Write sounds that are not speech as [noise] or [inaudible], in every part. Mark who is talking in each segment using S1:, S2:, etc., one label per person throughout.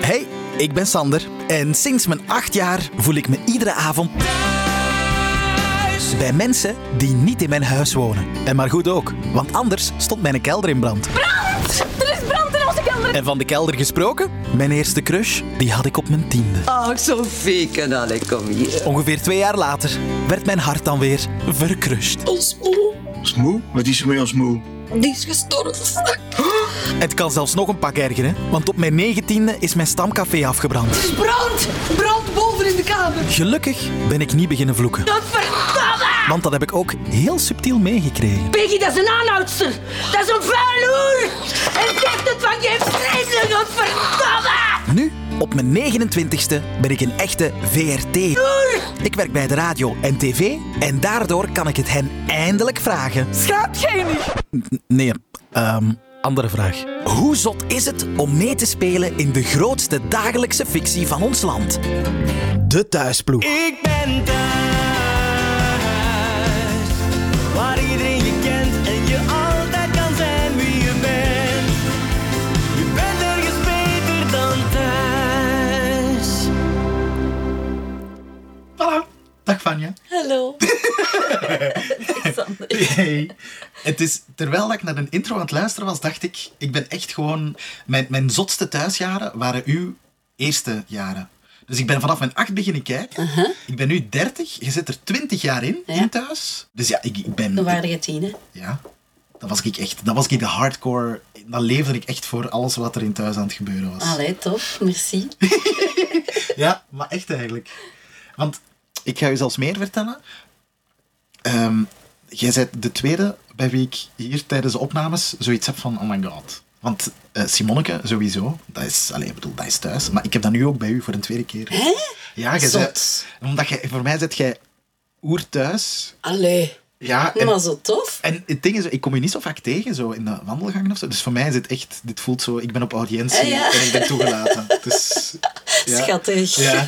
S1: Hey, ik ben Sander en sinds mijn acht jaar voel ik me iedere avond thuis bij mensen die niet in mijn huis wonen. En maar goed ook, want anders stond mijn kelder in brand.
S2: Er is brand in onze kelder.
S1: En van de kelder gesproken, mijn eerste crush, die had ik op mijn tiende.
S3: Ach, Sophie, kanale, kom hier.
S1: Ongeveer twee jaar later werd mijn hart dan weer verkrust.
S2: Ons moe.
S4: Ons moe? Wat is er met ons moe?
S2: Die is gestorven.
S1: Het kan zelfs nog een pak ergeren, want op mijn negentiende is mijn stamcafé afgebrand.
S2: Er is brand. Brand boven in de kamer.
S1: Gelukkig ben ik niet beginnen vloeken,
S2: Dat verdamme.
S1: want dat heb ik ook heel subtiel meegekregen.
S2: Peggy, dat is een aanhoudster. Dat is een vuil hoer. En zegt het van je vreselijk. Dat verdamme.
S1: Nu, op mijn 29ste, ben ik een echte VRT. Ik werk bij de radio en tv en daardoor kan ik het hen eindelijk vragen.
S2: Schaamt jij niet?
S1: Nee, ehm, andere vraag. Hoe zot is het om mee te spelen in de grootste dagelijkse fictie van ons land? De thuisploeg.
S5: Ik ben thuis, waar iedereen je kent en je altijd kan zijn wie je bent. Je bent ergens beter dan thuis.
S4: Hallo. Dag Vanja.
S2: Hallo.
S4: Hey. Het is, terwijl ik naar een intro aan het luisteren was, dacht ik, ik ben echt gewoon... Mijn, mijn zotste thuisjaren waren uw eerste jaren. Dus ik ben vanaf mijn acht beginnen kijken. Ik ben nu dertig. Je zit er twintig jaar in, in thuis. Dus ja, ik, ik ben...
S6: Toen waren je tien, hè?
S4: Ja. Dat was ik echt... Dat was ik de hardcore... Dan leefde ik echt voor alles wat er in thuis aan het gebeuren was.
S6: Allee, tof, merci.
S4: Ja, maar echt eigenlijk. Want ik ga je zelfs meer vertellen. Ehm, jij bent de tweede bij wie ik hier tijdens de opnames zoiets heb van: oh my god. Want eh, Simonneke, sowieso, dat is, allez, ik bedoel, dat is thuis. Maar ik heb dat nu ook bij u voor een tweede keer. Hè? Ja, jij
S6: Zot.
S4: bent- omdat jij, voor mij zit jij oer thuis.
S6: Allee,
S4: Ja, en,
S6: maar zo tof.
S4: en het ding is, ik kom je niet zo vaak tegen zo in de wandelgangen of zo. Dus voor mij is het echt, dit voelt zo, ik ben op audiëntie
S6: Ah, ja.
S4: en ik ben toegelaten. Dus, ja.
S6: Schattig. Ja.
S4: Ja,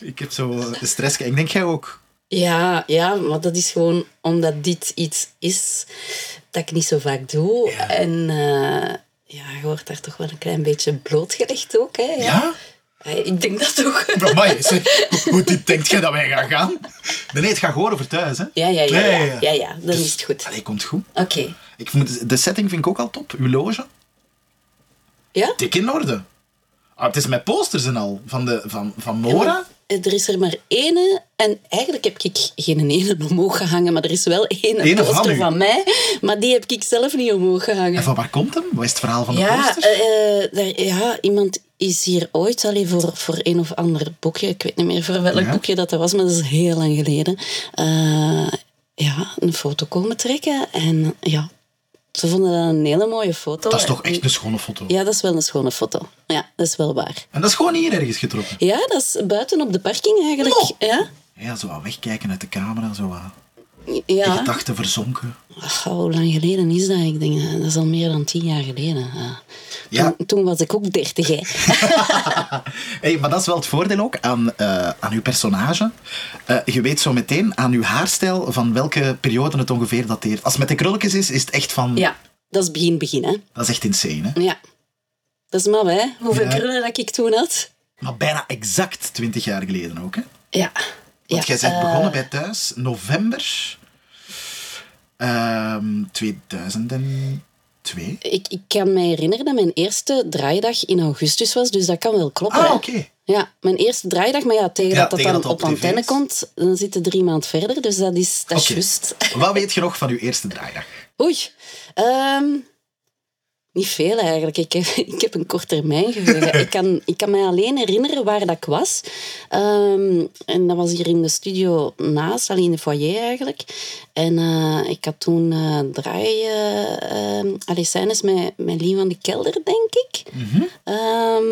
S4: ik heb zo de stress. Ik denk jij ook.
S6: Ja, maar dat is gewoon omdat dit iets is dat ik niet zo vaak doe. En eh, ja, je wordt daar toch wel een klein beetje blootgelegd ook, hè?
S4: Ja?
S6: Eh, Ik denk dat toch.
S4: Amai, zeg, hoe- hoe diep denkt jij dat wij gaan gaan? Nee, nee, het gaat gewoon over thuis, hè?
S6: [laughs] Ja, ja, ja,
S4: Nee,
S6: ja, ja, ja, dan is het goed.
S4: Dus- Allee, komt goed.
S6: Oké.
S4: Ik moet, de setting vind ik ook al top. Uw loge,
S6: Ja?
S4: dik in orde. Ah, het is met posters en al, van, de, van, van Mora.
S6: Eh, Er is er maar ene, en eigenlijk heb ik geen ene omhoog gehangen, maar er is wel ene,
S4: Ene van
S6: poster
S4: u.
S6: van, mij, maar die heb ik zelf niet omhoog gehangen.
S4: En van waar komt hem? Wat is het verhaal van de
S6: Ja,
S4: posters?
S6: eh, eh, daar- ja, iemand is hier ooit alleen voor, voor een of ander boekje. Ik weet niet meer voor welk
S4: Ja.
S6: boekje dat, dat was, maar dat is heel lang geleden. eh, ja, een foto komen trekken. En ja, ze vonden dat een hele mooie foto.
S4: dat is toch echt een schone foto.
S6: eh, Ja, dat is wel een schone foto. Ja, dat is wel waar.
S4: En dat is gewoon hier ergens getrokken.
S6: Ja, dat is buiten op de parking eigenlijk.
S4: Oh.
S6: Ja?
S4: Ja, zo wat wegkijken uit de camera, zo wat. De
S6: Ja.
S4: gedachten verzonken.
S6: Ach, hoe lang geleden is dat? Ik denk, eh, dat is al meer dan tien jaar geleden. Ja.
S4: Ja.
S6: Toen, toen was ik ook dertig,
S4: [laughs]
S6: hè.
S4: Hey, maar dat is wel het voordeel ook aan, eh, aan uw personage. Eh, je weet zo meteen aan uw haarstijl van welke periode het ongeveer dateert. Als het met de krulletjes is, is het echt van...
S6: Ja, dat is begin begin, hè.
S4: Dat is echt insane, hè?
S6: Ja. Dat is maf, hè? Hoeveel
S4: Ja.
S6: krullen dat ik toen had.
S4: Maar bijna exact 20 jaar geleden ook, hè?
S6: Ja.
S4: Want
S6: ja.
S4: jij bent
S6: eh,
S4: begonnen bij thuis, november ehm, 2002.
S6: ik, ik kan mij herinneren dat mijn eerste draaidag in augustus was, dus dat kan wel kloppen.
S4: Ah,
S6: hè.
S4: oké.
S6: Ja, mijn eerste draaidag, maar ja, tegen
S4: Ja,
S6: dat dat
S4: tegen
S6: dan
S4: dat
S6: op,
S4: dat op tv
S6: antenne
S4: is.
S6: komt, dan zitten drie maanden verder, dus dat is, dat is
S4: Oké.
S6: juist.
S4: Wat weet je nog van uw eerste draaidag?
S6: Oei. Ehm, niet veel eigenlijk. Ik heb, [laughs] ik heb een kort termijn geheugen. ik, kan, ik kan mij alleen herinneren waar dat ik was. Ehm, en dat was hier in de studio naast, alleen in de foyer eigenlijk. En eh, ik had toen eh draai... eh ehm, allee, scènes met, met Lien van de Kelder, denk ik. Ehm,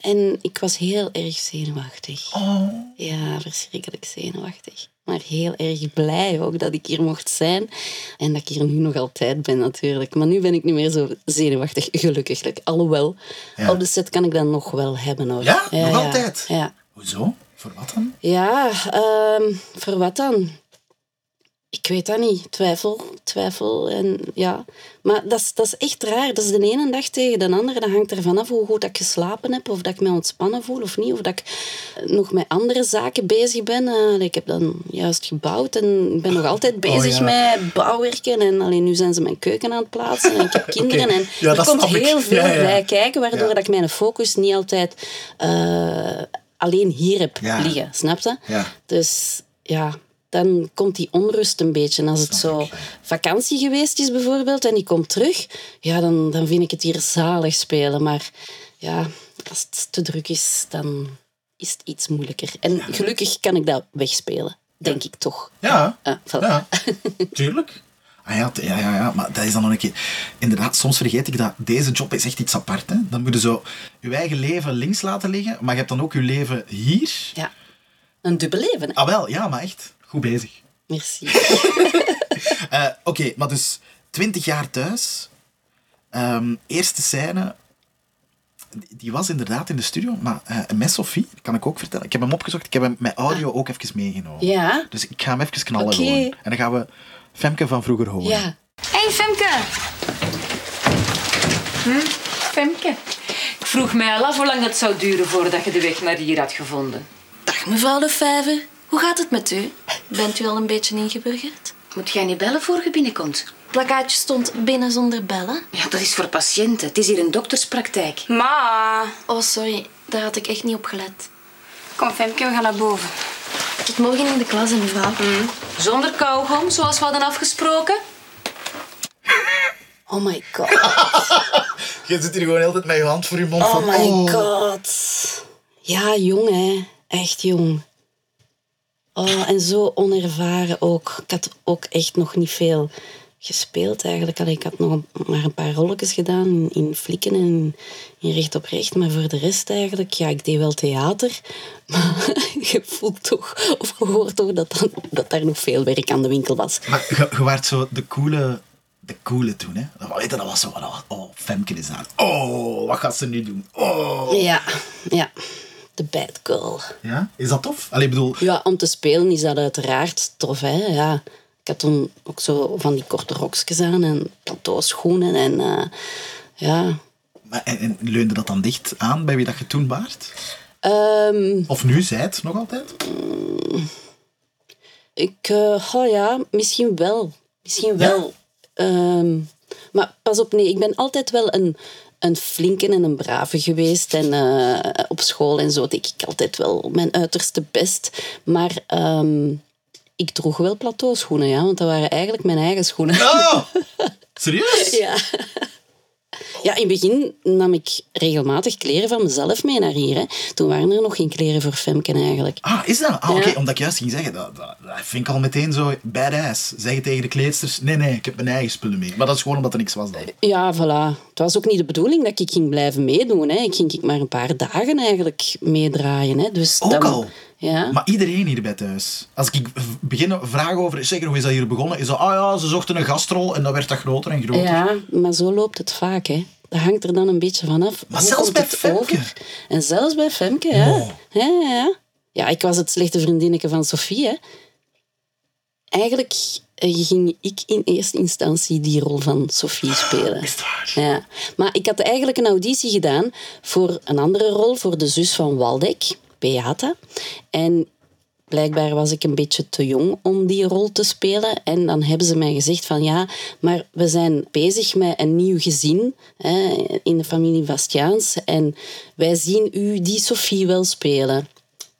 S6: en ik was heel erg zenuwachtig.
S4: Oh.
S6: Ja, verschrikkelijk zenuwachtig. Maar heel erg blij ook dat ik hier mocht zijn. En dat ik hier nu nog altijd ben natuurlijk. Maar nu ben ik niet meer zo zenuwachtig, gelukkig. Alhoewel,
S4: Ja.
S6: op de set kan ik dat nog wel hebben hoor.
S4: Ja? Nog altijd?
S6: Ja,
S4: Hoezo? Voor wat dan?
S6: ja ehm, voor wat dan? Ik weet dat niet. Twijfel, twijfel. En ja. Maar dat is, dat is echt raar. Dat is de ene dag tegen de andere. Dat hangt ervan af hoe goed dat ik geslapen heb. Of dat ik me ontspannen voel of niet. Of dat ik eh, nog met andere zaken bezig ben. Eh, allee, ik heb dan juist gebouwd. En ik ben nog
S4: [laughs] Oh
S6: altijd bezig met bouwwerken. En alleen nu zijn ze mijn keuken aan het plaatsen.
S4: [laughs]
S6: En ik heb kinderen. En
S4: Ja,
S6: er
S4: dat
S6: komt
S4: snap ik.
S6: heel veel
S4: Ja, ja.
S6: bij kijken. Waardoor
S4: Ja.
S6: dat ik mijn focus niet altijd eh, alleen hier heb
S4: Ja.
S6: liggen. Snap je?
S4: Ja.
S6: Dus ja, dan komt die onrust een beetje. Als het zo vakantie geweest is bijvoorbeeld en ik kom terug, ja, dan, dan vind ik het hier zalig spelen. Maar ja, als het te druk is, dan is het iets moeilijker. En gelukkig kan ik dat wegspelen, denk ik toch.
S4: Ja,
S6: Ah, voilà.
S4: ja. tuurlijk. Ah ja, t- ja, ja, ja, maar dat is dan nog een keer... Inderdaad, soms vergeet ik dat deze job is echt iets apart. Hè? Dan moet je zo je eigen leven links laten liggen, maar je hebt dan ook je leven hier.
S6: [laughs] Ja, een dubbel leven. hè.
S4: Ah wel, ja, maar echt. Goed bezig.
S6: Merci.
S4: Eh, Oké, maar dus 20 jaar thuis. Ehm, eerste scène. Die die was inderdaad in de studio, maar eh, met Sophie, dat kan ik ook vertellen. Ik heb hem opgezocht, ik heb hem met audio ook even meegenomen.
S6: Ah. Ja.
S4: Dus ik ga hem even knallen
S6: Oké.
S4: gewoon. En dan gaan we Femke van vroeger horen.
S6: Ja.
S7: hey, Femke. Hm? Femke. Ik vroeg mij al af hoe lang het zou duren voordat je de weg naar hier had gevonden.
S8: Dag mevrouw De Vijver, hoe gaat het met u? Bent u al een beetje ingeburgerd?
S7: Moet jij niet bellen voor je binnenkomt?
S8: Plakkaatje stond binnen zonder bellen.
S7: Ja, dat is voor patiënten. Het is hier een dokterspraktijk.
S9: Ma,
S8: Oh, sorry, daar had ik echt niet op gelet.
S9: kom Femke, we gaan naar boven.
S8: Tot morgen in de klas, hè, mevrouw.
S7: Zonder kauwgom, zoals we hadden afgesproken.
S6: Oh my god.
S4: Je zit hier gewoon altijd met je hand voor je mond.
S6: Oh my god. Ja, jong hè. Echt jong. Oh, en zo onervaren ook. Ik had ook echt nog niet veel gespeeld eigenlijk. Allee, ik had nog een- maar een paar rolletjes gedaan in, in flikken en in, in recht op recht. Maar voor de rest eigenlijk, ja, ik deed wel theater. [laughs] Maar je voelt toch, of je hoort toch, dat, dan, dat daar nog veel werk aan de winkel was.
S4: Maar je, je waart zo de coole, de coole toen, hè? Dat, weet je, dat was zo. Dat was, oh, Femke is daar. Oh, wat gaat ze nu doen? Oh.
S6: Ja, ja. De bad girl.
S4: Ja? Is dat tof? Allee, ik bedoel,
S6: Ja, om te spelen is dat uiteraard tof, hè. Ja. Ik had toen ook zo van die korte rokjes aan en plateauschoenen en... eh, ja.
S4: maar, en, en leunde dat dan dicht aan bij wie dat je toen waart?
S6: Ehm,
S4: Of nu zijt, nog altijd?
S6: ik... eh, oh ja, misschien wel. Misschien wel. Ehm, maar pas op, nee. Ik ben altijd wel een, een flinke en een brave geweest. En eh, op school en zo deed ik altijd wel mijn uiterste best. Maar... ehm, ik droeg wel plateauschoenen, ja, want dat waren eigenlijk mijn eigen schoenen.
S4: Oh! [laughs] Serieus?
S6: Ja. Ja, in het begin nam ik regelmatig kleren van mezelf mee naar hier. Hè. Toen waren er nog geen kleren voor Femke eigenlijk.
S4: Ah, is dat? Ah,
S6: Ja.
S4: oké, omdat ik juist ging zeggen, dat, dat, dat vind ik al meteen zo badass. Zeggen tegen de kleedsters, nee, nee, ik heb mijn eigen spullen mee. Maar dat is gewoon omdat er niks was dan.
S6: Ja, voilà. Het was ook niet de bedoeling dat ik ging blijven meedoen. Hè. Ik ging maar een paar dagen eigenlijk meedraaien. Hè. Dus
S4: Ook
S6: dat-
S4: al?
S6: Ja.
S4: Maar iedereen hierbij thuis. Als ik v- begin vragen over, zeker hoe is dat hier begonnen? Is dat, ah ja, ze zochten een gastrol en dan werd dat groter en groter.
S6: ja, maar zo loopt het vaak. Hè. Dat hangt er dan een beetje vanaf.
S4: Maar
S6: Hoe
S4: zelfs
S6: komt
S4: bij
S6: het
S4: Femke? Oh.
S6: En zelfs bij Femke, ja. Ja, ja, ja. Ja, ik was het slechte vriendinnetje van Sofie, hè. Eigenlijk eh, ging ik in eerste instantie die rol van Sofie spelen. Ja. Maar ik had eigenlijk een auditie gedaan voor een andere rol, voor de zus van Waldek, Beata. En blijkbaar was ik een beetje te jong om die rol te spelen. En dan hebben ze mij gezegd van ja, maar we zijn bezig met een nieuw gezin hè, in de familie Bastiaans. En wij zien u die Sophie wel spelen.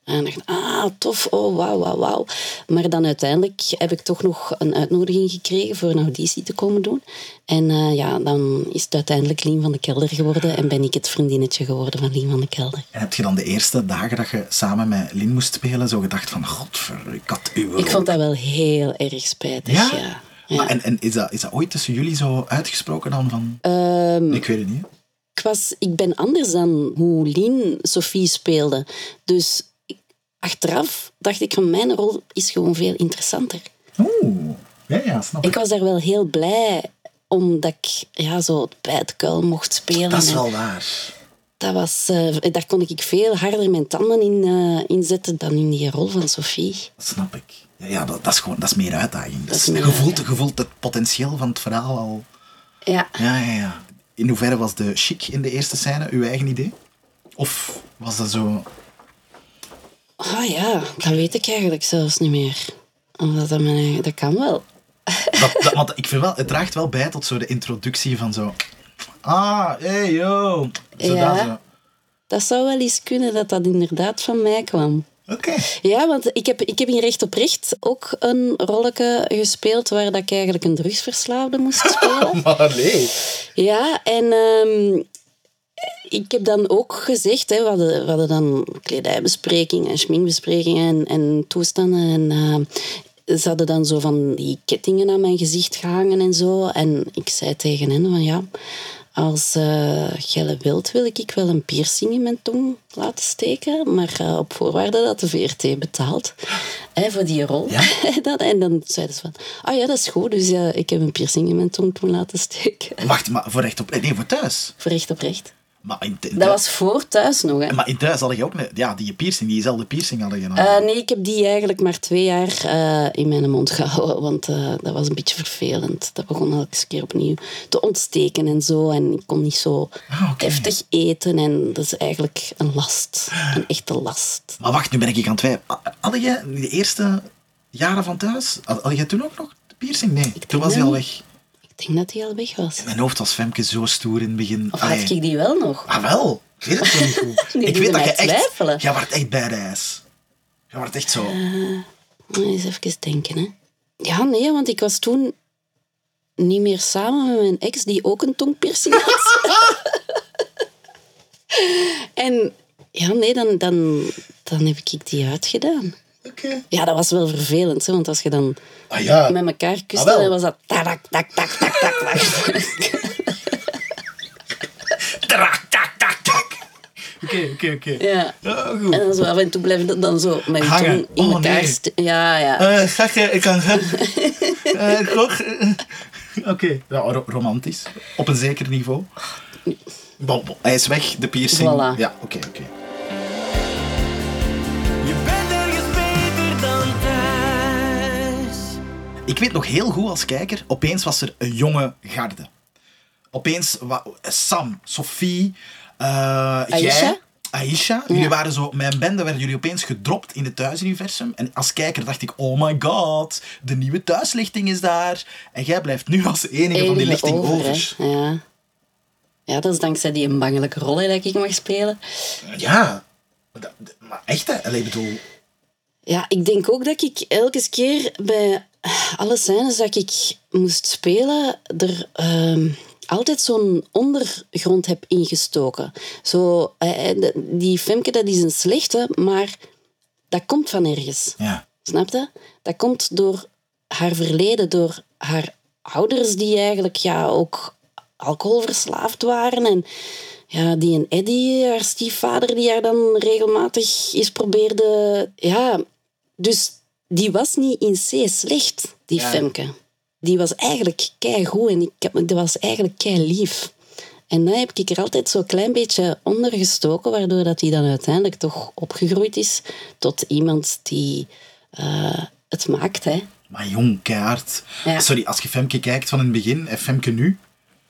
S6: En ik dacht, ah, tof, oh, wauw, wauw, wauw. Maar dan uiteindelijk heb ik toch nog een uitnodiging gekregen voor een auditie te komen doen. En eh, ja, dan is het uiteindelijk Lien van de Kelder geworden en ben ik het vriendinnetje geworden van Lien van de Kelder.
S4: En heb je dan de eerste dagen dat je samen met Lin moest spelen, zo gedacht van, godver, ik had uw
S6: Ik
S4: rol."
S6: vond dat wel heel erg spijtig,
S4: Ja?
S6: ja.
S4: Maar en, en is, dat, is dat ooit tussen jullie zo uitgesproken dan van...
S6: Ehm, Eh,
S4: ik weet het niet.
S6: ik, was, ik ben anders dan hoe Lien Sophie speelde. Dus ik- achteraf dacht ik van mijn rol is gewoon veel interessanter.
S4: Oeh. Ja, ja, snap
S6: Ik was daar wel heel blij omdat ik ja, zo het bijtkuil mocht spelen.
S4: Dat is
S6: en
S4: wel waar.
S6: dat was, eh, daar kon ik veel harder mijn tanden in, eh, in zetten dan in die rol van Sophie.
S4: Dat snap ik. Ja, ja, dat, dat is gewoon dat is meer uitdaging.
S6: Dat
S4: Dat
S6: is
S4: is,
S6: meer
S4: je, voelt, je voelt het potentieel van het verhaal al.
S6: Ja.
S4: Ja, ja, ja. In hoeverre was de chic in de eerste scène uw eigen idee? Of was dat zo...
S6: Ah ja, dat weet ik eigenlijk zelfs niet meer. Omdat dat, mijn eigen- dat kan wel.
S4: Dat, dat- want ik vind wel, het draagt wel bij tot zo de introductie van zo... Ah, hey, yo. Zo
S6: Ja.
S4: dat zo.
S6: Dat zou wel eens kunnen dat dat inderdaad van mij kwam.
S4: Oké. [laughs]
S6: Ja, want ik heb, ik heb in Recht op Recht ook een rolletje gespeeld waar dat ik eigenlijk een drugsverslaafde moest spelen.
S4: Maar nee.
S6: Ja, en ehm, ik heb dan ook gezegd, hè, we, hadden, we hadden dan kledijbesprekingen en schminkbesprekingen en, en toestanden. En eh, ze hadden dan zo van die kettingen aan mijn gezicht gehangen en zo. En ik zei tegen hen van ja, als eh gelle wilt wil ik wel een piercing in mijn tong laten steken. Maar eh, op voorwaarde dat de VRT betaalt hè, voor die rol. [laughs] Dat- en dan zeiden ze van, ah ja, dat is goed. Dus ja, ik heb een piercing in mijn tong toen laten steken.
S4: Wacht, maar voor recht op... Nee, voor thuis.
S6: Voor recht op recht.
S4: Maar in, in
S6: Dat was voor thuis nog, hè?
S4: Maar in thuis had je ook... een- Ja, die piercing, diezelfde piercing hadden je dan.
S6: Eh, nee, ik heb die eigenlijk maar twee jaar eh, in mijn mond gehouden. Want eh, dat was een beetje vervelend. Dat begon elke keer opnieuw te ontsteken en zo. En ik kon niet zo heftig eten. En dat is eigenlijk een last. Een echte last.
S4: Maar wacht, nu ben ik aan het twijfelen. eh, Hadden jij in de eerste jaren van thuis, had had jij toen ook nog de piercing? Nee, toen was die
S6: dat
S4: al
S6: niet.
S4: weg.
S6: Ik denk dat die al weg was.
S4: Mijn hoofd was Femke zo stoer in het begin.
S6: Of
S4: Allee.
S6: had ik die wel nog?
S4: Ah wel, ik weet het toch
S6: [laughs]
S4: niet goed.
S6: Nu
S4: ik
S6: doe
S4: weet
S6: je
S4: dat
S6: mij
S4: je echt...
S6: twijfelen.
S4: Jij wordt echt badass. Jij wordt echt zo...
S6: Eh, moet eens even denken, hè. Ja, nee, want ik was toen niet meer samen met mijn ex, die ook een tongpiercing had. [laughs] en ja, nee, dan, dan, dan heb ik die uitgedaan.
S4: Oké.
S6: Ja, dat was wel vervelend, hè, want als je dan
S4: Ah ja.
S6: met elkaar kuste,
S4: Ah, wel.
S6: dan was dat tak, tak, tak, tak, tak, tak, tak. [laughs]
S4: Trak, tak, tak,
S6: [laughs]
S4: tak. Oké, oké, oké.
S6: Ja.
S4: Oh,
S6: En dan zo af en toe blijft dat dan zo met je
S4: Hangen.
S6: tong in
S4: Oh,
S6: elkaar
S4: nee.
S6: st- Ja, ja.
S4: Eh, zeg je, ik
S6: [laughs]
S4: kan... Eh, ik ook. eh, Oké, ja, ro- romantisch. Op een zeker niveau. Bon, bon. Hij is weg, de piercing.
S6: Voilà.
S4: Ja, oké, oké.
S5: Je bent ergens beter dan thuis.
S4: Ik weet nog heel goed als kijker, opeens was er een jonge garde. Opeens wa- Sam, Sophie, eh, jij, Aisha. Jullie waren zo, mijn bende werden jullie opeens gedropt in het thuisuniversum. En als kijker dacht ik, oh my god, de nieuwe thuislichting is daar. En jij blijft nu als enige, van
S6: Enige
S4: die lichting over.
S6: hè. Ja. ja, dat is dankzij die een bangelijke rol hè, dat ik mag spelen.
S4: Ja, dat- maar echt hè. Allee, ik bedoel,
S6: Ja, ik denk ook dat ik elke keer bij alle scènes dat ik moest spelen, er ehm, altijd zo'n ondergrond heb ingestoken. Zo, eh, eh, de- die Femke, dat is een slechte, maar dat komt van ergens.
S4: ja.
S6: Snap je? Dat komt door haar verleden, door haar ouders die eigenlijk ja, ook alcoholverslaafd waren. En ja, die en Eddie, haar stiefvader, die haar dan regelmatig eens probeerde... Ja, dus die was niet in C slecht, die
S4: Ja.
S6: Femke. Die was eigenlijk keigoed en ik heb, die was eigenlijk kei lief. En dat heb ik er altijd zo'n klein beetje onder gestoken, waardoor dat die dan uiteindelijk toch opgegroeid is tot iemand die eh, het maakt. Hè.
S4: Maar jong, keihard.
S6: Ja.
S4: Sorry, als je Femke kijkt van in het begin en Femke nu,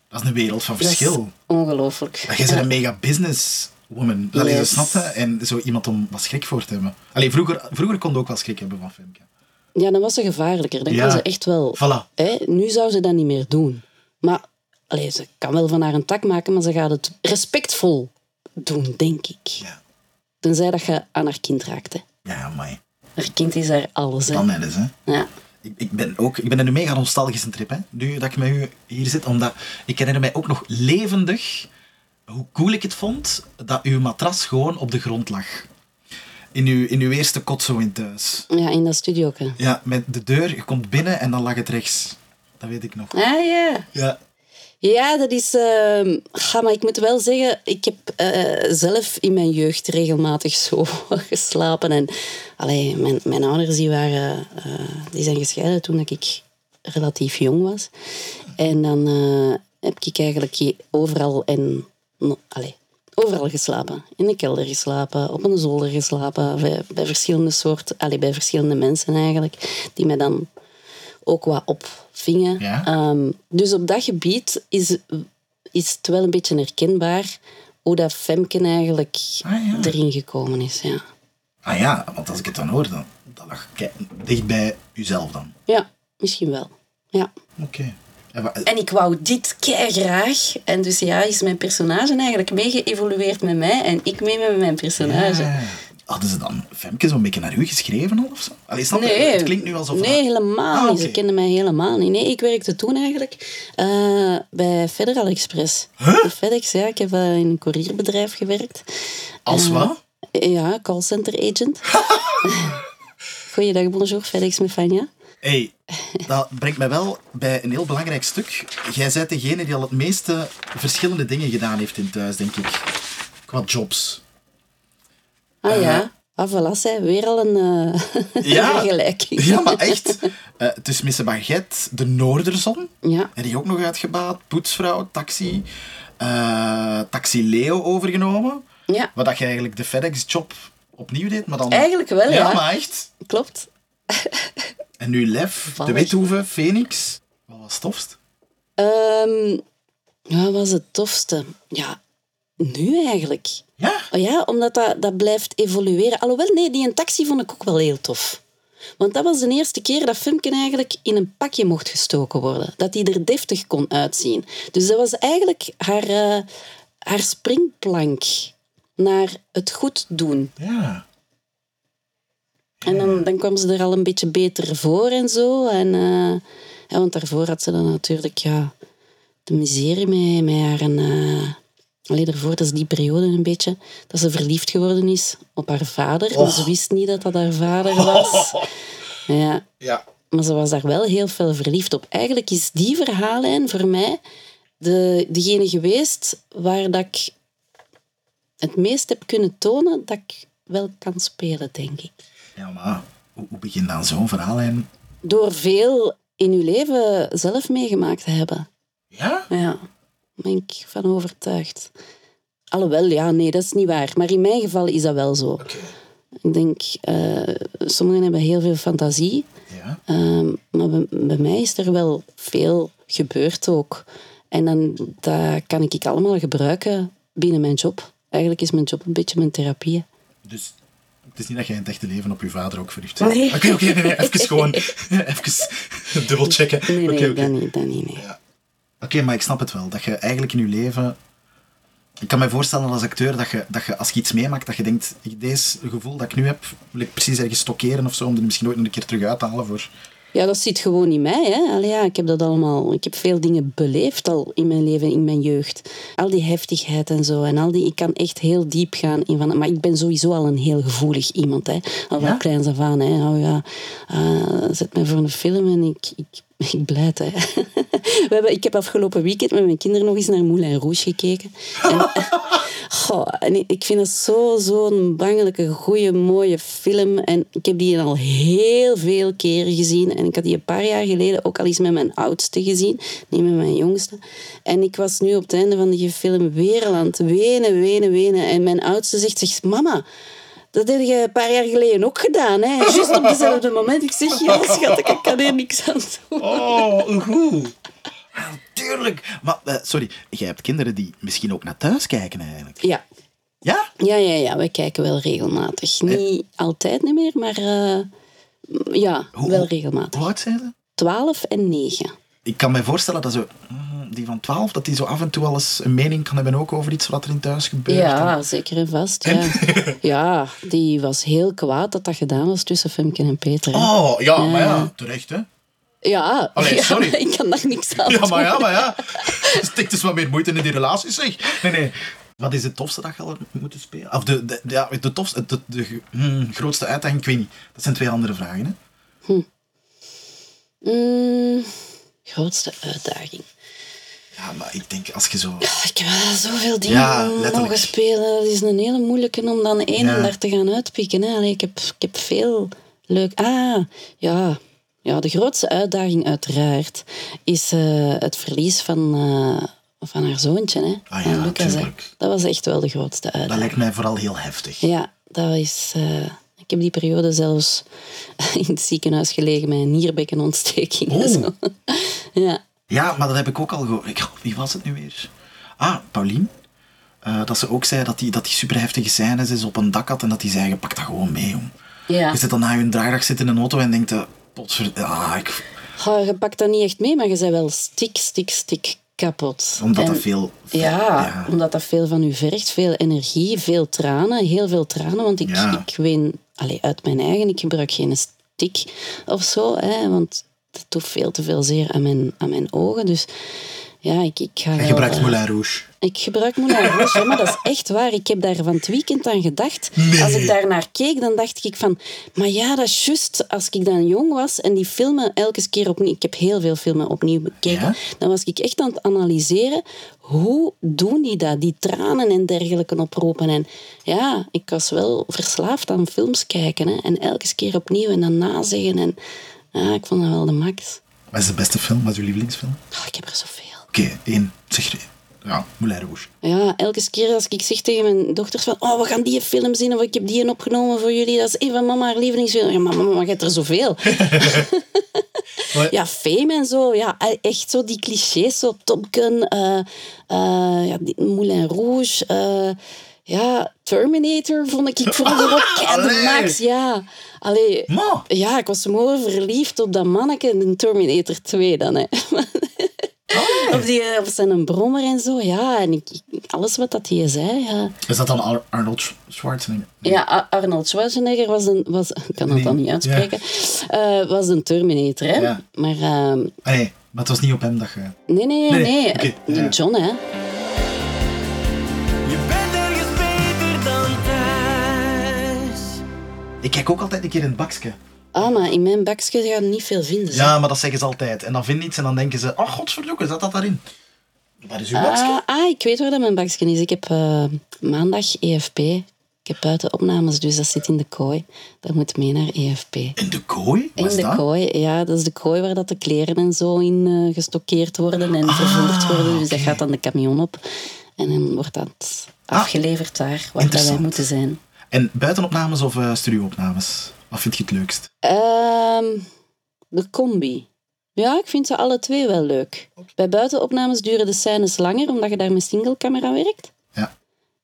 S4: dat is een wereld van
S6: Dat is
S4: verschil.
S6: Ongelooflijk.
S4: Maar jij bent een mega businesswoman. Dat is
S6: Yes.
S4: snap je? En zo iemand om wat schrik voor te hebben. Allee, vroeger, vroeger kon je ook wel schrik hebben van Femke.
S6: Ja, dan was ze gevaarlijker. Dan
S4: Ja.
S6: kon ze echt wel...
S4: Voilà.
S6: Hè, nu zou ze dat niet meer doen. Maar allee, ze kan wel van haar een tak maken, maar ze gaat het respectvol doen, denk ik.
S4: Ja.
S6: Tenzij dat je aan haar kind raakt. Hè.
S4: Ja, amai.
S6: Haar kind is haar alles. Hè.
S4: Dan net eens, hè.
S6: Ja.
S4: Ik, ik ben ook... Ik ben in een mega nostalgische trip, hè. Nu dat ik met u hier zit, omdat... Ik herinner mij ook nog levendig hoe cool ik het vond dat uw matras gewoon op de grond lag. In uw, in uw eerste kot zo in thuis.
S6: ja, in dat studio ook. hè.
S4: Ja, met de deur. Je komt binnen en dan lag het rechts. Dat weet ik nog.
S6: Ah ja.
S4: Ja.
S6: Ja, dat is. ehm, ga, maar ik moet wel zeggen, ik heb eh, zelf in mijn jeugd regelmatig zo [laughs] geslapen. En allee, mijn, mijn ouders die waren, eh, die zijn gescheiden toen dat ik relatief jong was. En dan eh, heb ik eigenlijk hier overal en. no- allee, overal geslapen. In de kelder geslapen, op een zolder geslapen, bij, bij verschillende soorten, allee, bij verschillende mensen eigenlijk, die mij dan ook wat opvingen.
S4: Ja.
S6: Ehm, dus op dat gebied is, is het wel een beetje herkenbaar hoe dat Femken eigenlijk erin gekomen is. Ja.
S4: Ah ja, want als ik het dan hoor, dan, dan lag ik dicht bij uzelf dan.
S6: ja, misschien wel. Ja.
S4: Oké. En wa-
S6: En ik wou dit kei graag. En dus ja, is mijn personage eigenlijk meegeëvolueerd met mij en ik mee met mijn personage.
S4: Ja. eh, Hadden ze dan Femke zo'n beetje naar u geschreven al of zo? Allee, snap je? Het klinkt nu alsof...
S6: Nee, helemaal
S4: Ah,
S6: niet. Ze
S4: oké.
S6: kenden mij helemaal niet. Nee, ik werkte toen eigenlijk eh, bij Federal Express. Bij FedEx, ja. Ik heb eh, in een courierbedrijf gewerkt.
S4: Als
S6: Eh,
S4: wat?
S6: Ja, callcenter
S4: [laughs]
S6: agent. Goeiedag, bonjour, FedEx met Fania.
S4: Hey, dat brengt mij wel bij een heel belangrijk stuk. Jij bent degene die al het meeste verschillende dingen gedaan heeft in thuis, denk ik. Qua jobs.
S6: Ah ja, ah, voilà, zij, weer al een eh, [laughs]
S4: Ja.
S6: vergelijking.
S4: Ja, maar echt. Eh het is Misse Baguette, de Noorderzon.
S6: Ja.
S4: En die ook nog uitgebaat. Poetsvrouw, taxi. eh, taxi Leo overgenomen.
S6: Ja.
S4: Wat dat je eigenlijk de FedEx-job opnieuw deed. Maar dan...
S6: Eigenlijk wel, ja.
S4: maar echt.
S6: Klopt.
S4: En nu Lef, De
S6: Vallig.
S4: Withoeve, Phoenix. Wat was het tofst?
S6: Ehm, wat was het tofste? Ja, nu eigenlijk.
S4: Ja?
S6: Oh ja, omdat dat, dat blijft evolueren. Alhoewel, nee, die een taxi vond ik ook wel heel tof. Want dat was de eerste keer dat Fumken eigenlijk in een pakje mocht gestoken worden. Dat hij er deftig kon uitzien. Dus dat was eigenlijk haar, eh, haar springplank naar het goed doen.
S4: Ja.
S6: En dan, dan kwam ze er al een beetje beter voor en zo. En, eh, ja, want daarvoor had ze dan natuurlijk ja, de miserie mee, met haar. En, eh, alleen daarvoor, dat is die periode een beetje, dat ze verliefd geworden is op haar vader. Maar ze wist niet dat dat haar vader was. Ja.
S4: Ja.
S6: Maar ze was daar wel heel veel verliefd op. Eigenlijk is die verhaallijn voor mij de, degene geweest waar dat ik het meest heb kunnen tonen dat ik wel kan spelen, denk ik.
S4: Ja, maar hoe, hoe begint dan zo'n verhaal? En...
S6: Door veel in uw leven zelf meegemaakt te hebben.
S4: Ja?
S6: Ja, daar ben ik van overtuigd. Alhoewel, ja, nee, dat is niet waar. Maar in mijn geval is dat wel zo. Ik denk, eh, sommigen hebben heel veel fantasie.
S4: Ja.
S6: Ehm, maar bij, bij mij is er wel veel gebeurd ook. En dan, dat kan ik allemaal gebruiken binnen mijn job. Eigenlijk is mijn job een beetje mijn therapie.
S4: Dus het is niet dat jij in het echte leven op je vader ook verliefd bent.
S6: Nee.
S4: Oké, oké, nee,
S6: [laughs]
S4: nee, even gewoon even dubbelchecken. Oké,
S6: Nee, nee,
S4: oké.
S6: dat niet, dat niet, nee.
S4: Oké, maar ik snap het wel. Dat je eigenlijk in je leven... Ik kan me voorstellen als acteur dat je, dat je als je iets meemaakt, dat je denkt, ik- deze gevoel dat ik nu heb, wil ik precies ergens stockeren of zo, om er misschien ooit nog een keer terug uit te halen voor...
S6: Ja, dat zit gewoon in mij. Hè. Allee, ja, ik heb dat allemaal. Ik heb veel dingen beleefd al in mijn leven, in mijn jeugd. Al die heftigheid en zo. En al die, ik kan echt heel diep gaan in van. Maar ik ben sowieso al een heel gevoelig iemand. Hè. Al van
S10: Ja?
S6: kleins af aan. Hè. Oh ja, eh, zet mij voor een film en ik. ik ik blijd, hè. [laughs] We hebben, ik heb afgelopen weekend met mijn kinderen nog eens naar Moulin Rouge gekeken. Goh, en ik- ik vind het zo- zo'n bangelijke, goede, mooie film. En ik heb die al heel veel keren gezien. En ik had die een paar jaar geleden ook al eens met mijn oudste gezien. Niet met mijn jongste. En ik was nu op het einde van die film weer al aan het wenen, wenen, wenen. En mijn oudste zegt, zegt mama... Dat heb je een paar jaar geleden ook gedaan, hè? Juist op dezelfde moment. Ik zeg, ja, schat, ik kan hier niks aan doen.
S4: Oh, goed. Ah, Tuurlijk! Maar, eh, sorry, jij hebt kinderen die misschien ook naar thuis kijken eigenlijk.
S6: Ja.
S4: Ja?
S6: Ja, ja, ja. We kijken wel regelmatig. Niet altijd niet meer, maar eh, m- ja, wel regelmatig.
S4: Hoe oud zijn ze?
S6: Twaalf en negen.
S4: Ik kan me voorstellen dat zo, mm, die van 12, dat die zo af en toe al eens een mening kan hebben ook over iets wat er in thuis gebeurt.
S6: Ja, zeker en vast. Ja. ja, die was heel kwaad dat dat gedaan was tussen Femke en Peter. hè.
S4: Oh, ja, maar ja, terecht hè.
S6: Ja,
S4: Allee,
S6: [laughs] ja,
S4: sorry.
S6: maar ik kan daar niks aan
S4: [laughs] Ja, maar ja,
S6: doen.
S4: maar ja. Steek dus wat meer moeite in die relatie, zeg. Nee, nee. Wat is het tofste dat je al moeten spelen? Of de, de, ja, de tofste, de, de, ge- mm, grootste uitdaging, ik weet niet. Dat zijn twee andere vragen, hè.
S6: Mm, grootste uitdaging.
S4: Ja, maar ik denk, als je zo...
S6: Ik heb wel zoveel dingen
S4: Ja, letterlijk.
S6: mogen spelen. Dat is een hele moeilijke om dan één
S4: Ja.
S6: en daar te gaan uitpikken. Hè. Allee, ik, heb, ik heb veel leuk... Ah, ja. ja. De grootste uitdaging uiteraard is eh, het verlies van, eh, van haar zoontje, hè.
S4: Ah ja,
S6: Van Lucas, hè.
S4: tuurlijk.
S6: Dat was echt wel de grootste uitdaging.
S4: Dat lijkt mij vooral heel heftig.
S6: Ja, dat is... eh, ik heb die periode zelfs [laughs] in het ziekenhuis gelegen met een nierbekkenontsteking. en zo. [laughs] ja.
S4: Ja, maar dat heb ik ook al gehoord. Ik- oh, Wie was het nu weer? Ah, Paulien. Eh, dat ze ook zei dat die, dat die superheftige scènes is op een dak had en dat die zei, pak dat gewoon mee, jong.
S6: Ja.
S4: Je zit dan na je draagdag zit in een auto en denkt, eh, potver... Ah, ik...
S6: Oh, je pakt dat niet echt mee, maar je bent wel stik, stik, stik kapot.
S4: Omdat dat
S6: En-
S4: veel...
S6: Ja, omdat dat veel van u vergt. Veel energie, veel tranen. Heel veel tranen, want ik,
S4: Ja.
S6: ik ween allee, uit mijn eigen. Ik gebruik geen stick of zo, hè, want dat doet veel te veel zeer aan mijn, aan mijn ogen. Dus ja, ik, ik ga
S4: Hij
S6: wel,
S4: gebruikt
S6: eh,
S4: Moulin Rouge.
S6: Ik gebruik Moulin Rouge, hè, maar dat is echt waar. Ik heb daar van het weekend aan gedacht. Als ik daar naar keek, dan dacht ik van... Maar ja, dat is juist. Als ik dan jong was en die filmen elke keer opnieuw... Ik heb heel veel filmen opnieuw bekeken. Dan was ik echt aan het analyseren. Hoe doen die dat? Die tranen en dergelijke oproepen. En ja, ik was wel verslaafd aan films kijken. Hè, en elke keer opnieuw en dan nazeggen. En ja, ik vond dat wel de max.
S4: Wat is de beste film? Wat is uw lievelingsfilm?
S6: Oh, ik heb er zoveel.
S4: Oké, één. Zeg er één. Ja, Moulin Rouge.
S6: Ja, elke keer als ik zeg tegen mijn dochters van oh, we gaan die film zien of ik heb die opgenomen voor jullie, dat is een van mama haar lievelingsfilm. Ja, maar mama, je hebt er zoveel. ja, Fame en zo. Ja, echt zo die clichés, zo Top Gun, eh, eh, ja, die Moulin Rouge. eh, ja, Terminator vond ik, ik vroeger ook kei de
S5: Allee.
S6: max. Ja, Allee,
S4: Ma.
S6: ja, ik was mooi verliefd op dat manneke in Terminator 2 dan. Hè. [laughs] Of, die, eh, of zijn een brommer en zo, ja. En ik, ik- alles wat dat hij zei, ja.
S4: Is dat dan Ar- Arnold Sch- Schwarzenegger?
S6: Ja, A- Arnold Schwarzenegger was een... Was, ik kan dat dan niet uitspreken. Eh, was een Terminator, hè.
S4: Ja.
S6: Maar... ehm,
S4: Ah, nee, maar het was niet op hem dat je...
S6: nee, nee,
S4: Nee,
S6: nee.
S4: oké,
S6: eh, de
S4: ja.
S6: John, hè.
S4: Ik kijk ook altijd een keer in het bakje.
S6: Ah, maar in mijn bakje gaan niet veel vinden. zeg.
S4: Ja, maar dat zeggen ze altijd. En dan vinden iets en dan denken ze, oh godverdomme, zat dat daarin? Waar is uw
S6: Ah,
S4: bakje?
S6: ah, ik weet waar dat mijn bakje is. Ik heb eh, maandag EFP. Ik heb buitenopnames, dus dat zit in de kooi. Dat moet mee naar E EFP.
S4: In de kooi? Wat
S6: In
S4: is
S6: de
S4: dat?
S6: kooi, ja. Dat is de kooi waar dat de kleren en zo in eh, gestockeerd worden
S4: Ah,
S6: en vervoerd worden. Dus dat gaat dan de camion op. En dan wordt dat afgeleverd daar, waar dat wij
S4: Ah. interessant.
S6: moeten zijn.
S4: En buitenopnames of eh, studioopnames? Wat vind je het leukst?
S6: Ehm, de combi. Ja, ik vind ze alle twee wel leuk. Bij buitenopnames duren de scènes langer, omdat je daar met singlecamera werkt.
S4: Ja.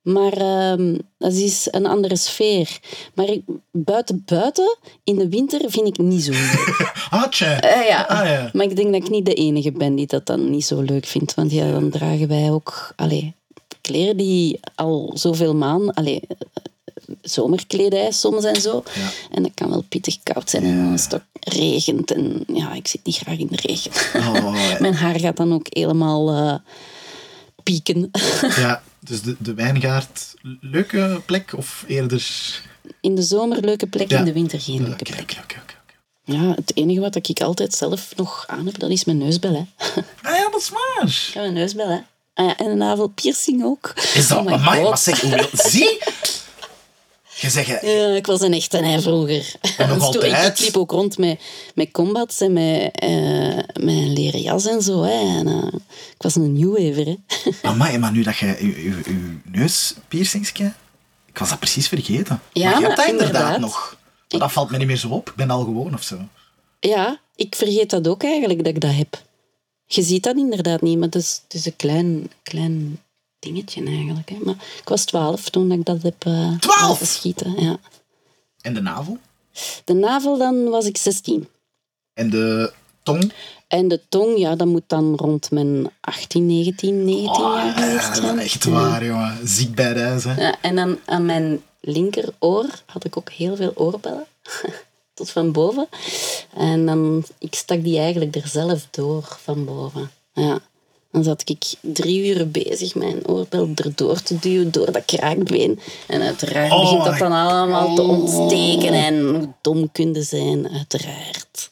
S6: Maar ehm, dat is een andere sfeer. Maar ik, buiten buiten, in de winter, vind ik niet zo leuk.
S4: Hatje!
S6: Eh, ja.
S4: [laughs] Ah,
S6: [laughs]
S4: ja.
S6: Maar ik denk dat ik niet de enige ben die dat dan niet zo leuk vindt. Want ja, dan dragen wij ook allee, kleren die al zoveel maanden... Allee, eh, zomerkledij soms en zo. En dat kan wel pittig koud zijn. En dan is het ook regent. En ja, ik zit niet graag in de regen. [laughs]
S4: Oh,
S6: Mijn haar gaat dan ook helemaal eh, pieken. [laughs]
S4: ja, dus de, de wijngaard, leuke plek of eerder...
S6: In de zomer leuke plek,
S4: Ja.
S6: in de winter geen leuke plek. Ja, het enige wat ik altijd zelf nog aan heb, dat is mijn neusbel. Hè. [laughs]
S4: Ah ja, dat is waar.
S6: Ja, mijn neusbel, hè. Ah ja, en een navelpiercing ook.
S4: Is dat...
S6: Oh my
S4: amai,
S6: God.
S4: maar zeg, hoeveel... Zie! Je zegt... eh,
S6: Ja, ik was een echte hè, vroeger. [laughs]
S4: En
S6: Dus
S4: nog
S6: toen-
S4: altijd.
S6: Ik, ik liep ook rond met, met combats en met, eh, met een leren jas en zo. Hè. En, eh, ik was een new waver. Hè. [laughs]
S4: Amai, maar nu dat je je, je, je neuspiercingske... Ik was dat precies vergeten.
S6: Ja,
S4: maar je hebt dat inderdaad,
S6: inderdaad.
S4: nog. Maar dat valt me niet meer zo op. Ik ben al gewoon of zo.
S6: Ja, ik vergeet dat ook eigenlijk dat ik dat heb. Je ziet dat inderdaad niet, maar het is, het is een klein, klein dingetje eigenlijk. Hè. Maar ik was twaalf toen dat ik dat heb eh laten schieten. Ja.
S4: En de navel?
S6: De navel, dan was ik 16.
S4: En de tong?
S6: En de tong, ja, dat moet dan rond mijn 18, 19, 19 jaar geweest
S4: Oh, Ja,
S6: zijn.
S4: Ah, echt
S6: Ja.
S4: waar, jongen. Ziek bij de ijs, hè.
S6: Ja, en dan aan mijn linkeroor had ik ook heel veel oorbellen. [laughs] Tot van boven. En dan, ik stak die eigenlijk er zelf door van boven. Ja. Dan zat ik drie uur bezig mijn oorbel erdoor te duwen door dat kraakbeen. En uiteraard
S5: Oh
S6: begint
S5: my
S6: dat dan allemaal te ontsteken. En hoe dom kunnen zijn, uiteraard.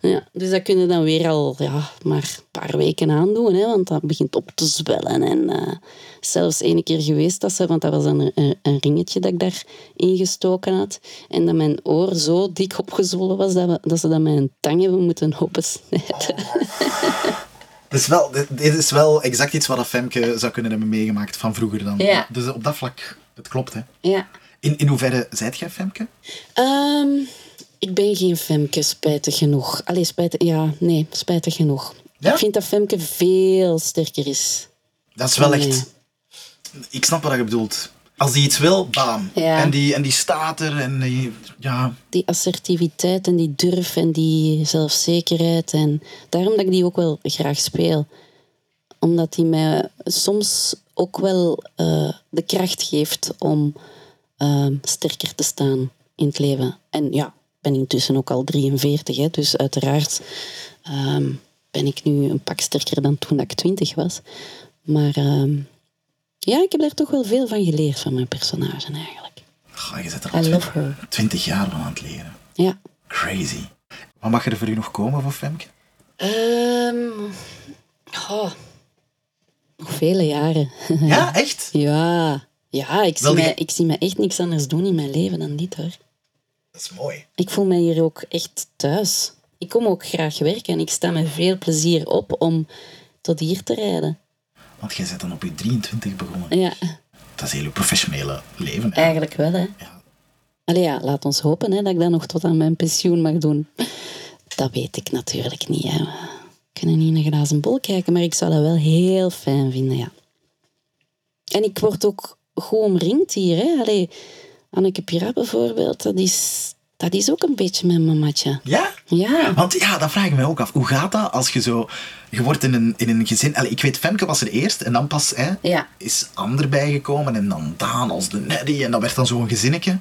S6: Ja, dus dat kun je dan weer al ja, maar een paar weken aandoen, hè, want dat begint op te zwellen. En eh, zelfs ene keer geweest dat ze, want dat was een, een, een ringetje dat ik daar ingestoken had, en dat mijn oor zo dik opgezwollen was dat, we, dat ze dat met een tang hebben moeten opensnijden.
S4: Dit is, Dus wel, dit, dit is wel exact iets wat dat Femke zou kunnen hebben meegemaakt van vroeger dan.
S6: Ja.
S4: Dus op dat vlak, het klopt hè.
S6: Ja.
S4: In, in hoeverre zijt jij Femke?
S6: Ehm, ik ben geen Femke, spijtig genoeg. Allee, spijtig... Ja, nee, spijtig genoeg. Ik vind dat Femke veel sterker is.
S4: Dat is wel
S6: Nee.
S4: echt... Ik snap wat je bedoelt. Als die iets wil, bam.
S6: Ja.
S4: En, die, en die staat er en die, ja...
S6: Die assertiviteit en die durf en die zelfzekerheid. En daarom dat ik die ook wel graag speel. Omdat die mij soms ook wel eh, de kracht geeft om ehm, sterker te staan in het leven. En ja, ik ben intussen ook al 43, hè, dus uiteraard ehm, ben ik nu een pak sterker dan toen ik 20 was. Maar ehm, ja, ik heb daar toch wel veel van geleerd van mijn personage eigenlijk.
S4: Goh, je zit er
S6: I
S4: al
S6: love
S4: 20,
S6: her.
S4: jaar van aan het leren.
S6: Ja.
S4: Crazy. Wat mag er voor u nog komen voor Femke?
S6: Ehm oh, nog vele jaren. [laughs]
S4: Ja, echt?
S6: Ja, ja ik, zie
S4: Wel, die-
S6: mij, ik zie mij echt niks anders doen in mijn leven dan dit hoor.
S4: Dat is mooi.
S6: Ik voel mij hier ook echt thuis. Ik kom ook graag werken en ik sta met veel plezier op om tot hier te rijden.
S4: Want jij bent dan op je 23 begonnen.
S6: Ja,
S4: Dat is heel uw professionele leven. hè.
S6: eigenlijk wel hè. Allee ja, laat ons hopen hè, dat ik dat nog tot aan mijn pensioen mag doen. Dat weet ik natuurlijk niet hè. We kunnen niet in een glazen bol kijken, maar ik zou dat wel heel fijn vinden ja. En ik word ook goed omringd hier. Hè? Allee, Anneke Pira bijvoorbeeld, dat is, dat is ook een beetje mijn mamatje.
S4: Ja?
S6: Ja.
S4: Want ja, dat vraag ik me ook af. Hoe gaat dat als je zo... Je wordt in een, in een gezin... Allee, ik weet, Femke was er eerst en dan pas hè,
S6: Ja.
S4: is Ander bijgekomen en dan Daan als de Neddy en dat werd dan zo'n gezinnetje.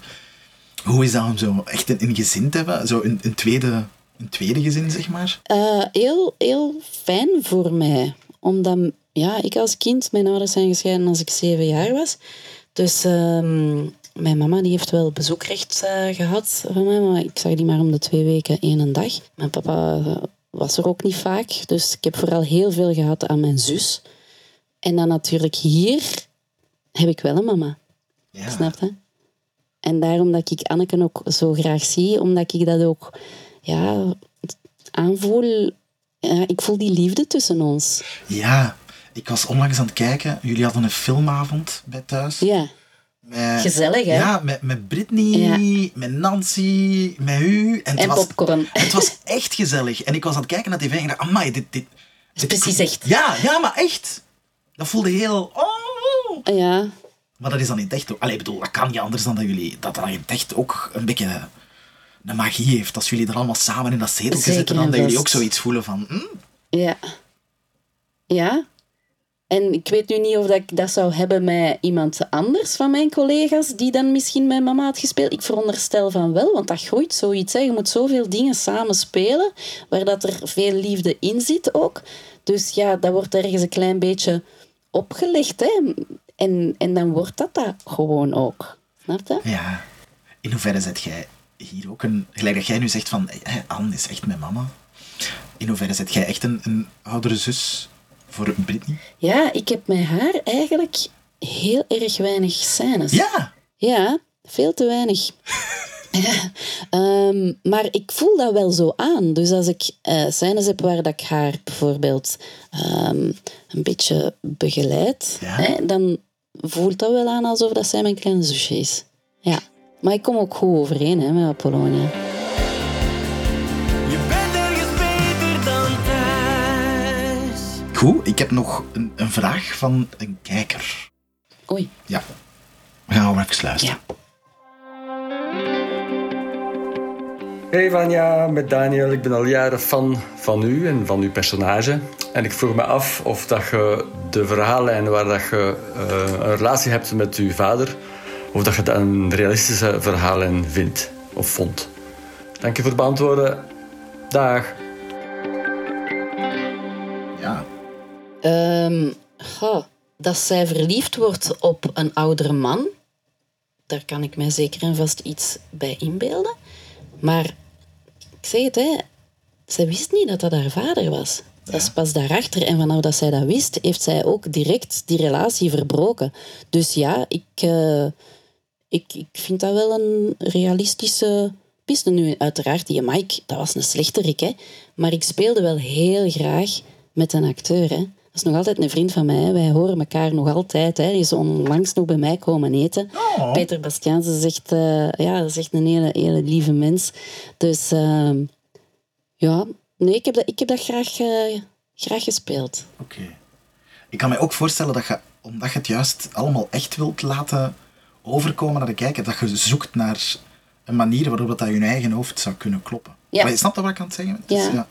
S4: Hoe is dat om zo echt een, een gezin te hebben? Zo een, een, tweede, een tweede gezin, zeg maar.
S6: Eh, heel, heel fijn voor mij. Omdat, ja, ik als kind, mijn ouders zijn gescheiden als ik zeven jaar was. Dus ehm, mijn mama die heeft wel bezoekrecht eh, gehad van mij, maar ik zag die maar om de twee weken één dag. Mijn papa eh, was er ook niet vaak, dus ik heb vooral heel veel gehad aan mijn zus. En dan natuurlijk hier heb ik wel een mama. Snap je? En daarom dat ik Anneke ook zo graag zie, omdat ik dat ook ja, aanvoel. Ja, ik voel die liefde tussen ons.
S4: Ja, ik was onlangs aan het kijken. Jullie hadden een filmavond bij thuis.
S6: Ja.
S4: Met-
S6: Gezellig, hè?
S4: Ja, met, met Britney, met Nancy, met u. En, het
S6: En
S4: was,
S6: popcorn.
S4: Het was echt gezellig. En ik was aan het kijken naar tv en ik dacht, amai, dit... dit, dit
S6: precies echt.
S4: Ja, ja, maar echt. Dat voelde heel... Oh.
S6: Ja,
S4: Maar dat is dan in het echt ook... Allee, ik bedoel, dat kan niet anders dan dat jullie... Dat dat in het echt ook een beetje een magie heeft. Als jullie er allemaal samen in dat zeteltje
S6: Zeker
S4: zitten, dan
S6: en
S4: dat jullie ook
S6: vast.
S4: zoiets voelen van... hm,
S6: ja. Ja. En ik weet nu niet of dat ik dat zou hebben met iemand anders van mijn collega's, die dan misschien mijn mama had gespeeld. Ik veronderstel van wel, want dat groeit zoiets. Hè. Je moet zoveel dingen samen spelen, waar dat er veel liefde in zit ook. Dus ja, dat wordt ergens een klein beetje opgelegd. Hè. En, en dan wordt dat dat gewoon ook. Snap je?
S4: Ja. In hoeverre zet jij hier ook een... Gelijk dat jij nu zegt van, hè, Anne is echt mijn mama. In hoeverre zet jij echt een, een oudere zus voor Britney?
S6: Ja, ik heb met haar eigenlijk heel erg weinig scènes.
S4: Ja!
S6: Ja, veel te weinig. Ehm, maar ik voel dat wel zo aan. Dus als ik eh scènes heb waar dat ik haar bijvoorbeeld ehm, een beetje begeleid, hè, dan voelt dat wel aan alsof dat zij mijn kleine zusje is. Ja. Maar ik kom ook goed overeen hè, met Apollonia.
S4: Goed, ik heb nog een, een vraag van een kijker.
S6: Oei.
S4: Ja. We gaan maar even luisteren.
S10: Hey Vanja, met Daniel. Ik ben al jaren fan van u en van uw personage. En ik vroeg me af of dat je de verhaallijn waar dat je eh, een relatie hebt met uw vader, of dat je dat een realistische verhaallijn vindt of vond. Dank je voor het beantwoorden. Dag.
S4: Ja.
S6: Ehm, goh, dat zij verliefd wordt op een oudere man, daar kan ik mij zeker en vast iets bij inbeelden. Maar ik zeg het, hè, zij wist niet dat dat haar vader was. Dat is pas daarachter. En vanaf dat zij dat wist, heeft zij ook direct die relatie verbroken. Dus ja, ik, eh, ik, ik vind dat wel een realistische piste. Nu, uiteraard, die Mike, dat was een slechterik, hè. Maar ik speelde wel heel graag met een acteur. Hè. Dat is nog altijd een vriend van mij. hè. Wij horen elkaar nog altijd. Hè. Die is onlangs nog bij mij komen eten. Peter Bastiaans is echt, eh, ja, dat is echt een hele, hele lieve mens. Dus ehm, ja, nee, ik heb dat, ik heb dat graag, eh, graag gespeeld.
S4: Ik kan mij ook voorstellen dat je, omdat je het juist allemaal echt wilt laten overkomen naar de kijker, dat je zoekt naar een manier waarop dat aan je eigen hoofd zou kunnen kloppen.
S6: Ja.
S4: Maar je snapt dat wat ik aan het zeggen ben? Het is,
S6: Ja.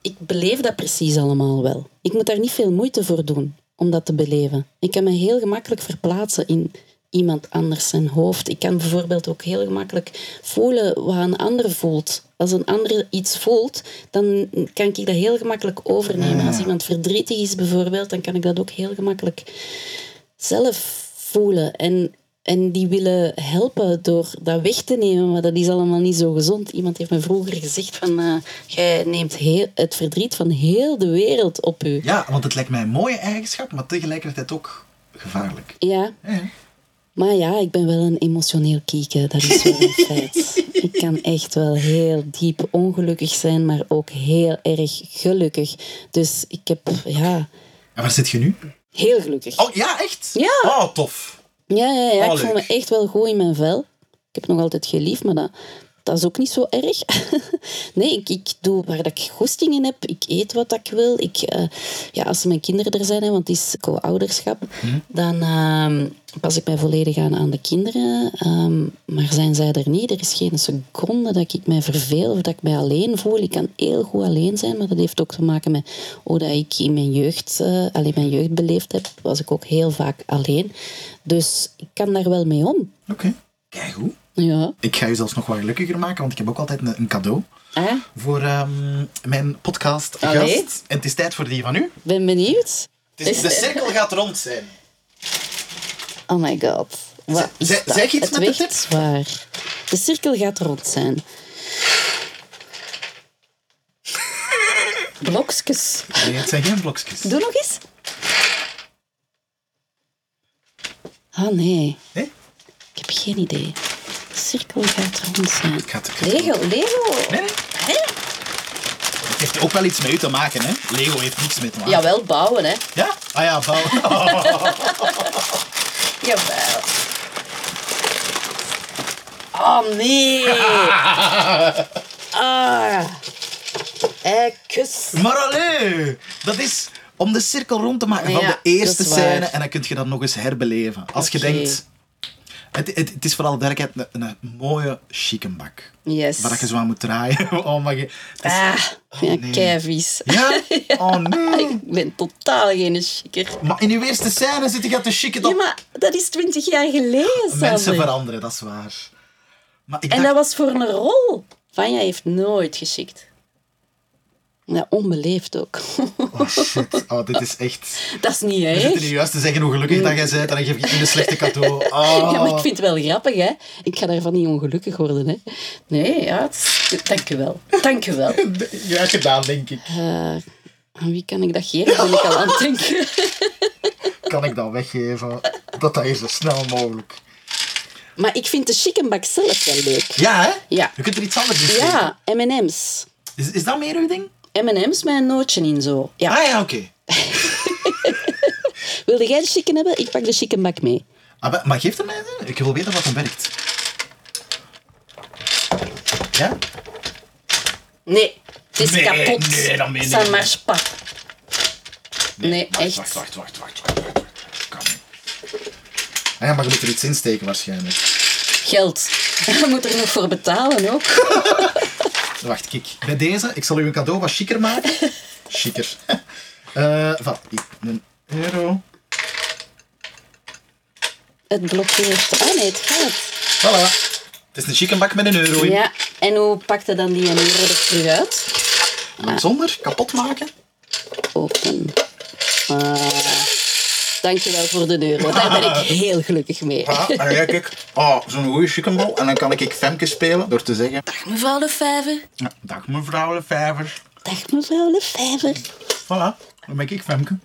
S6: Ik beleef dat precies allemaal wel. Ik moet daar niet veel moeite voor doen om dat te beleven. Ik kan me heel gemakkelijk verplaatsen in iemand anders zijn hoofd. Ik kan bijvoorbeeld ook heel gemakkelijk voelen wat een ander voelt. Als een ander iets voelt, dan kan ik dat heel gemakkelijk overnemen. Als iemand verdrietig is bijvoorbeeld, dan kan ik dat ook heel gemakkelijk zelf voelen. En, en die willen helpen door dat weg te nemen, maar dat is allemaal niet zo gezond. Iemand heeft me vroeger gezegd van, eh, jij neemt heel, het verdriet van heel de wereld op u.
S4: ja, want het lijkt mij een mooie eigenschap, maar tegelijkertijd ook gevaarlijk.
S6: Ja. Maar ja, ik ben wel een emotioneel kieken, dat is [laughs] wel een feit. Ik kan echt wel heel diep ongelukkig zijn, maar ook heel erg gelukkig. Dus ik heb, ja,
S4: En waar zit je nu?
S6: heel gelukkig.
S4: Oh ja, echt?
S6: Ja.
S4: Oh, tof.
S6: Ja, ja, ja.
S4: Oh,
S6: ik voel me
S4: leuk.
S6: echt wel goed in mijn vel. Ik heb nog altijd geliefd, maar dat, dat is ook niet zo erg. [laughs] nee, ik, ik doe waar dat ik goesting in heb. Ik eet wat dat ik wil. Ik, eh, ja, als mijn kinderen er zijn, hè, want het is co-ouderschap, dan ehm, pas ik mij volledig aan aan de kinderen. Ehm, maar zijn zij er niet? Er is geen seconde dat ik mij verveel of dat ik mij alleen voel. Ik kan heel goed alleen zijn, maar dat heeft ook te maken met hoe dat ik in mijn jeugd, eh alleen mijn jeugd beleefd heb, was ik ook heel vaak alleen. Dus ik kan daar wel mee om.
S4: Oké. Kijk hoe.
S6: Ja.
S4: Ik ga je zelfs nog wat gelukkiger maken, want ik heb ook altijd een, een cadeau
S6: Ah,
S4: voor ehm, mijn podcast
S6: Allee.
S4: gast. En het is tijd voor die van u.
S6: ben benieuwd.
S4: Het is, de cirkel gaat rond zijn.
S6: Oh my god. Wat is
S4: Zeg-
S6: dat?
S4: zeg iets
S6: het
S4: met de
S6: weegt zwaar. De cirkel gaat rond zijn. Blokjes.
S4: Nee, het zijn geen blokjes.
S6: Doe nog eens. Ah nee.
S4: Nee?
S6: Ik heb geen idee. De cirkel gaat rond zijn.
S4: Gaat het-
S6: Lego, Lego.
S4: Ah, Het heeft ook wel iets met u te maken, hè? Lego heeft niks mee te maken.
S6: Jawel, bouwen hè.
S4: Ja? Ah ja, [laughs] bouw.
S6: Jawel. Oh
S4: [laughs]
S6: nee. ah. Eh, kus.
S4: maar allee, dat is om de cirkel rond te maken van
S6: Ja,
S4: de eerste
S6: dat is waar.
S4: scène en dan kun je dat nog eens herbeleven. Als
S6: Oké.
S4: je denkt, het, het, het is vooral duidelijkheid een, een mooie chickenbak.
S6: Yes.
S4: Waar dat je zo aan moet draaien. [laughs] Oh, maar je, het is-
S6: Ah, ja, keivies. [laughs]
S4: [laughs] Ja? Oh nee.
S6: Ik ben totaal geen chicker.
S4: Maar in uw eerste scène zit je te chicken
S6: Ja,
S4: op.
S6: maar dat is twintig jaar geleden,
S4: Mensen
S6: Sander.
S4: veranderen, dat is waar. Maar ik
S6: En
S4: dacht,
S6: dat was voor een rol. Vanja heeft nooit geschikt. Ja, onbeleefd ook. [laughs]
S4: oh shit, oh, dit is echt...
S6: dat is niet
S4: We zitten nu
S6: erg.
S4: juist te zeggen hoe gelukkig dat jij bent en dan geef ik je een slechte cadeau. Oh.
S6: [laughs] Ja, maar ik vind het wel grappig, hè. Ik ga daarvan niet ongelukkig worden, hè. Nee, ja, het is- dank je wel. Dank je wel.
S4: Ja, gedaan, denk ik.
S6: Eh, aan wie kan ik dat geven? Ben ik al aan het denken. [laughs]
S4: Kan ik dan weggeven? Dat dat hier zo snel mogelijk.
S6: Maar ik vind de chickenbak zelf wel leuk.
S4: Ja, hè?
S6: Ja.
S4: Je kunt er iets anders in steken.
S6: Ja, M&M's.
S4: Is, is dat meer uw ding?
S6: M&M's met een nootje in zo. Ja.
S4: Ah ja, oké.
S6: Wilde jij de chicken hebben? Ik pak de chickenbak mee.
S4: Ah, maar- maar geef er mij een. Ik wil weten wat hem werkt. Ja?
S6: Nee, het is
S4: Nee,
S6: kapot.
S4: nee, dat meen ik
S6: Ça
S4: niet.
S6: marche pas. Nee, echt.
S4: Wacht, wacht, wacht, wacht. wacht, wacht, wacht. Kan niet. Ah, ja, maar je moet er iets in steken waarschijnlijk.
S6: Geld. [laughs] Je moet er nog voor betalen ook.
S4: Wacht, kijk. Bij deze, ik zal u een cadeau wat chiquer maken. chiquer. [laughs] Eh van, hier, een euro.
S6: Het blokkeert. Ah nee, het gaat.
S4: Voilà. Het is een chickenbak met een euro in.
S6: Ja, en hoe pakt je dan die en euro er terug uit?
S4: Zonder kapot maken.
S6: Open. Ah, dankjewel voor de euro. Daar ben
S4: [laughs]
S6: ik heel gelukkig mee.
S4: Ja, en dan kijk ik, oh, zo'n goede chickenbal. En dan kan ik Femke spelen door te zeggen,
S8: Dag mevrouw de Vijver.
S4: "Ja, dag mevrouw de vijver.
S6: Dag mevrouw Le Vijver.
S4: Voilà, dan ben ik Femke.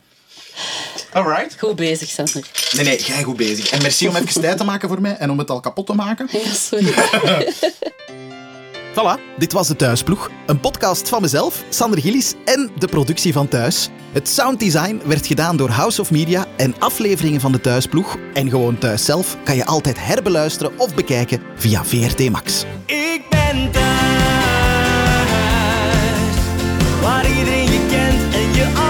S4: Alright.
S6: Goed bezig, Sander.
S4: Nee, nee, jij goed bezig. En merci om even tijd te maken voor mij en om het al kapot te maken.
S6: Ja, sorry.
S1: Voilà, dit was De Thuisploeg. Een podcast van mezelf, Sander Gillis en de productie van Thuis. Het sounddesign werd gedaan door House of Media en afleveringen van De Thuisploeg en gewoon Thuis zelf kan je altijd herbeluisteren of bekijken via VRT Max.
S5: Ik ben thuis, waar iedereen je kent en je al.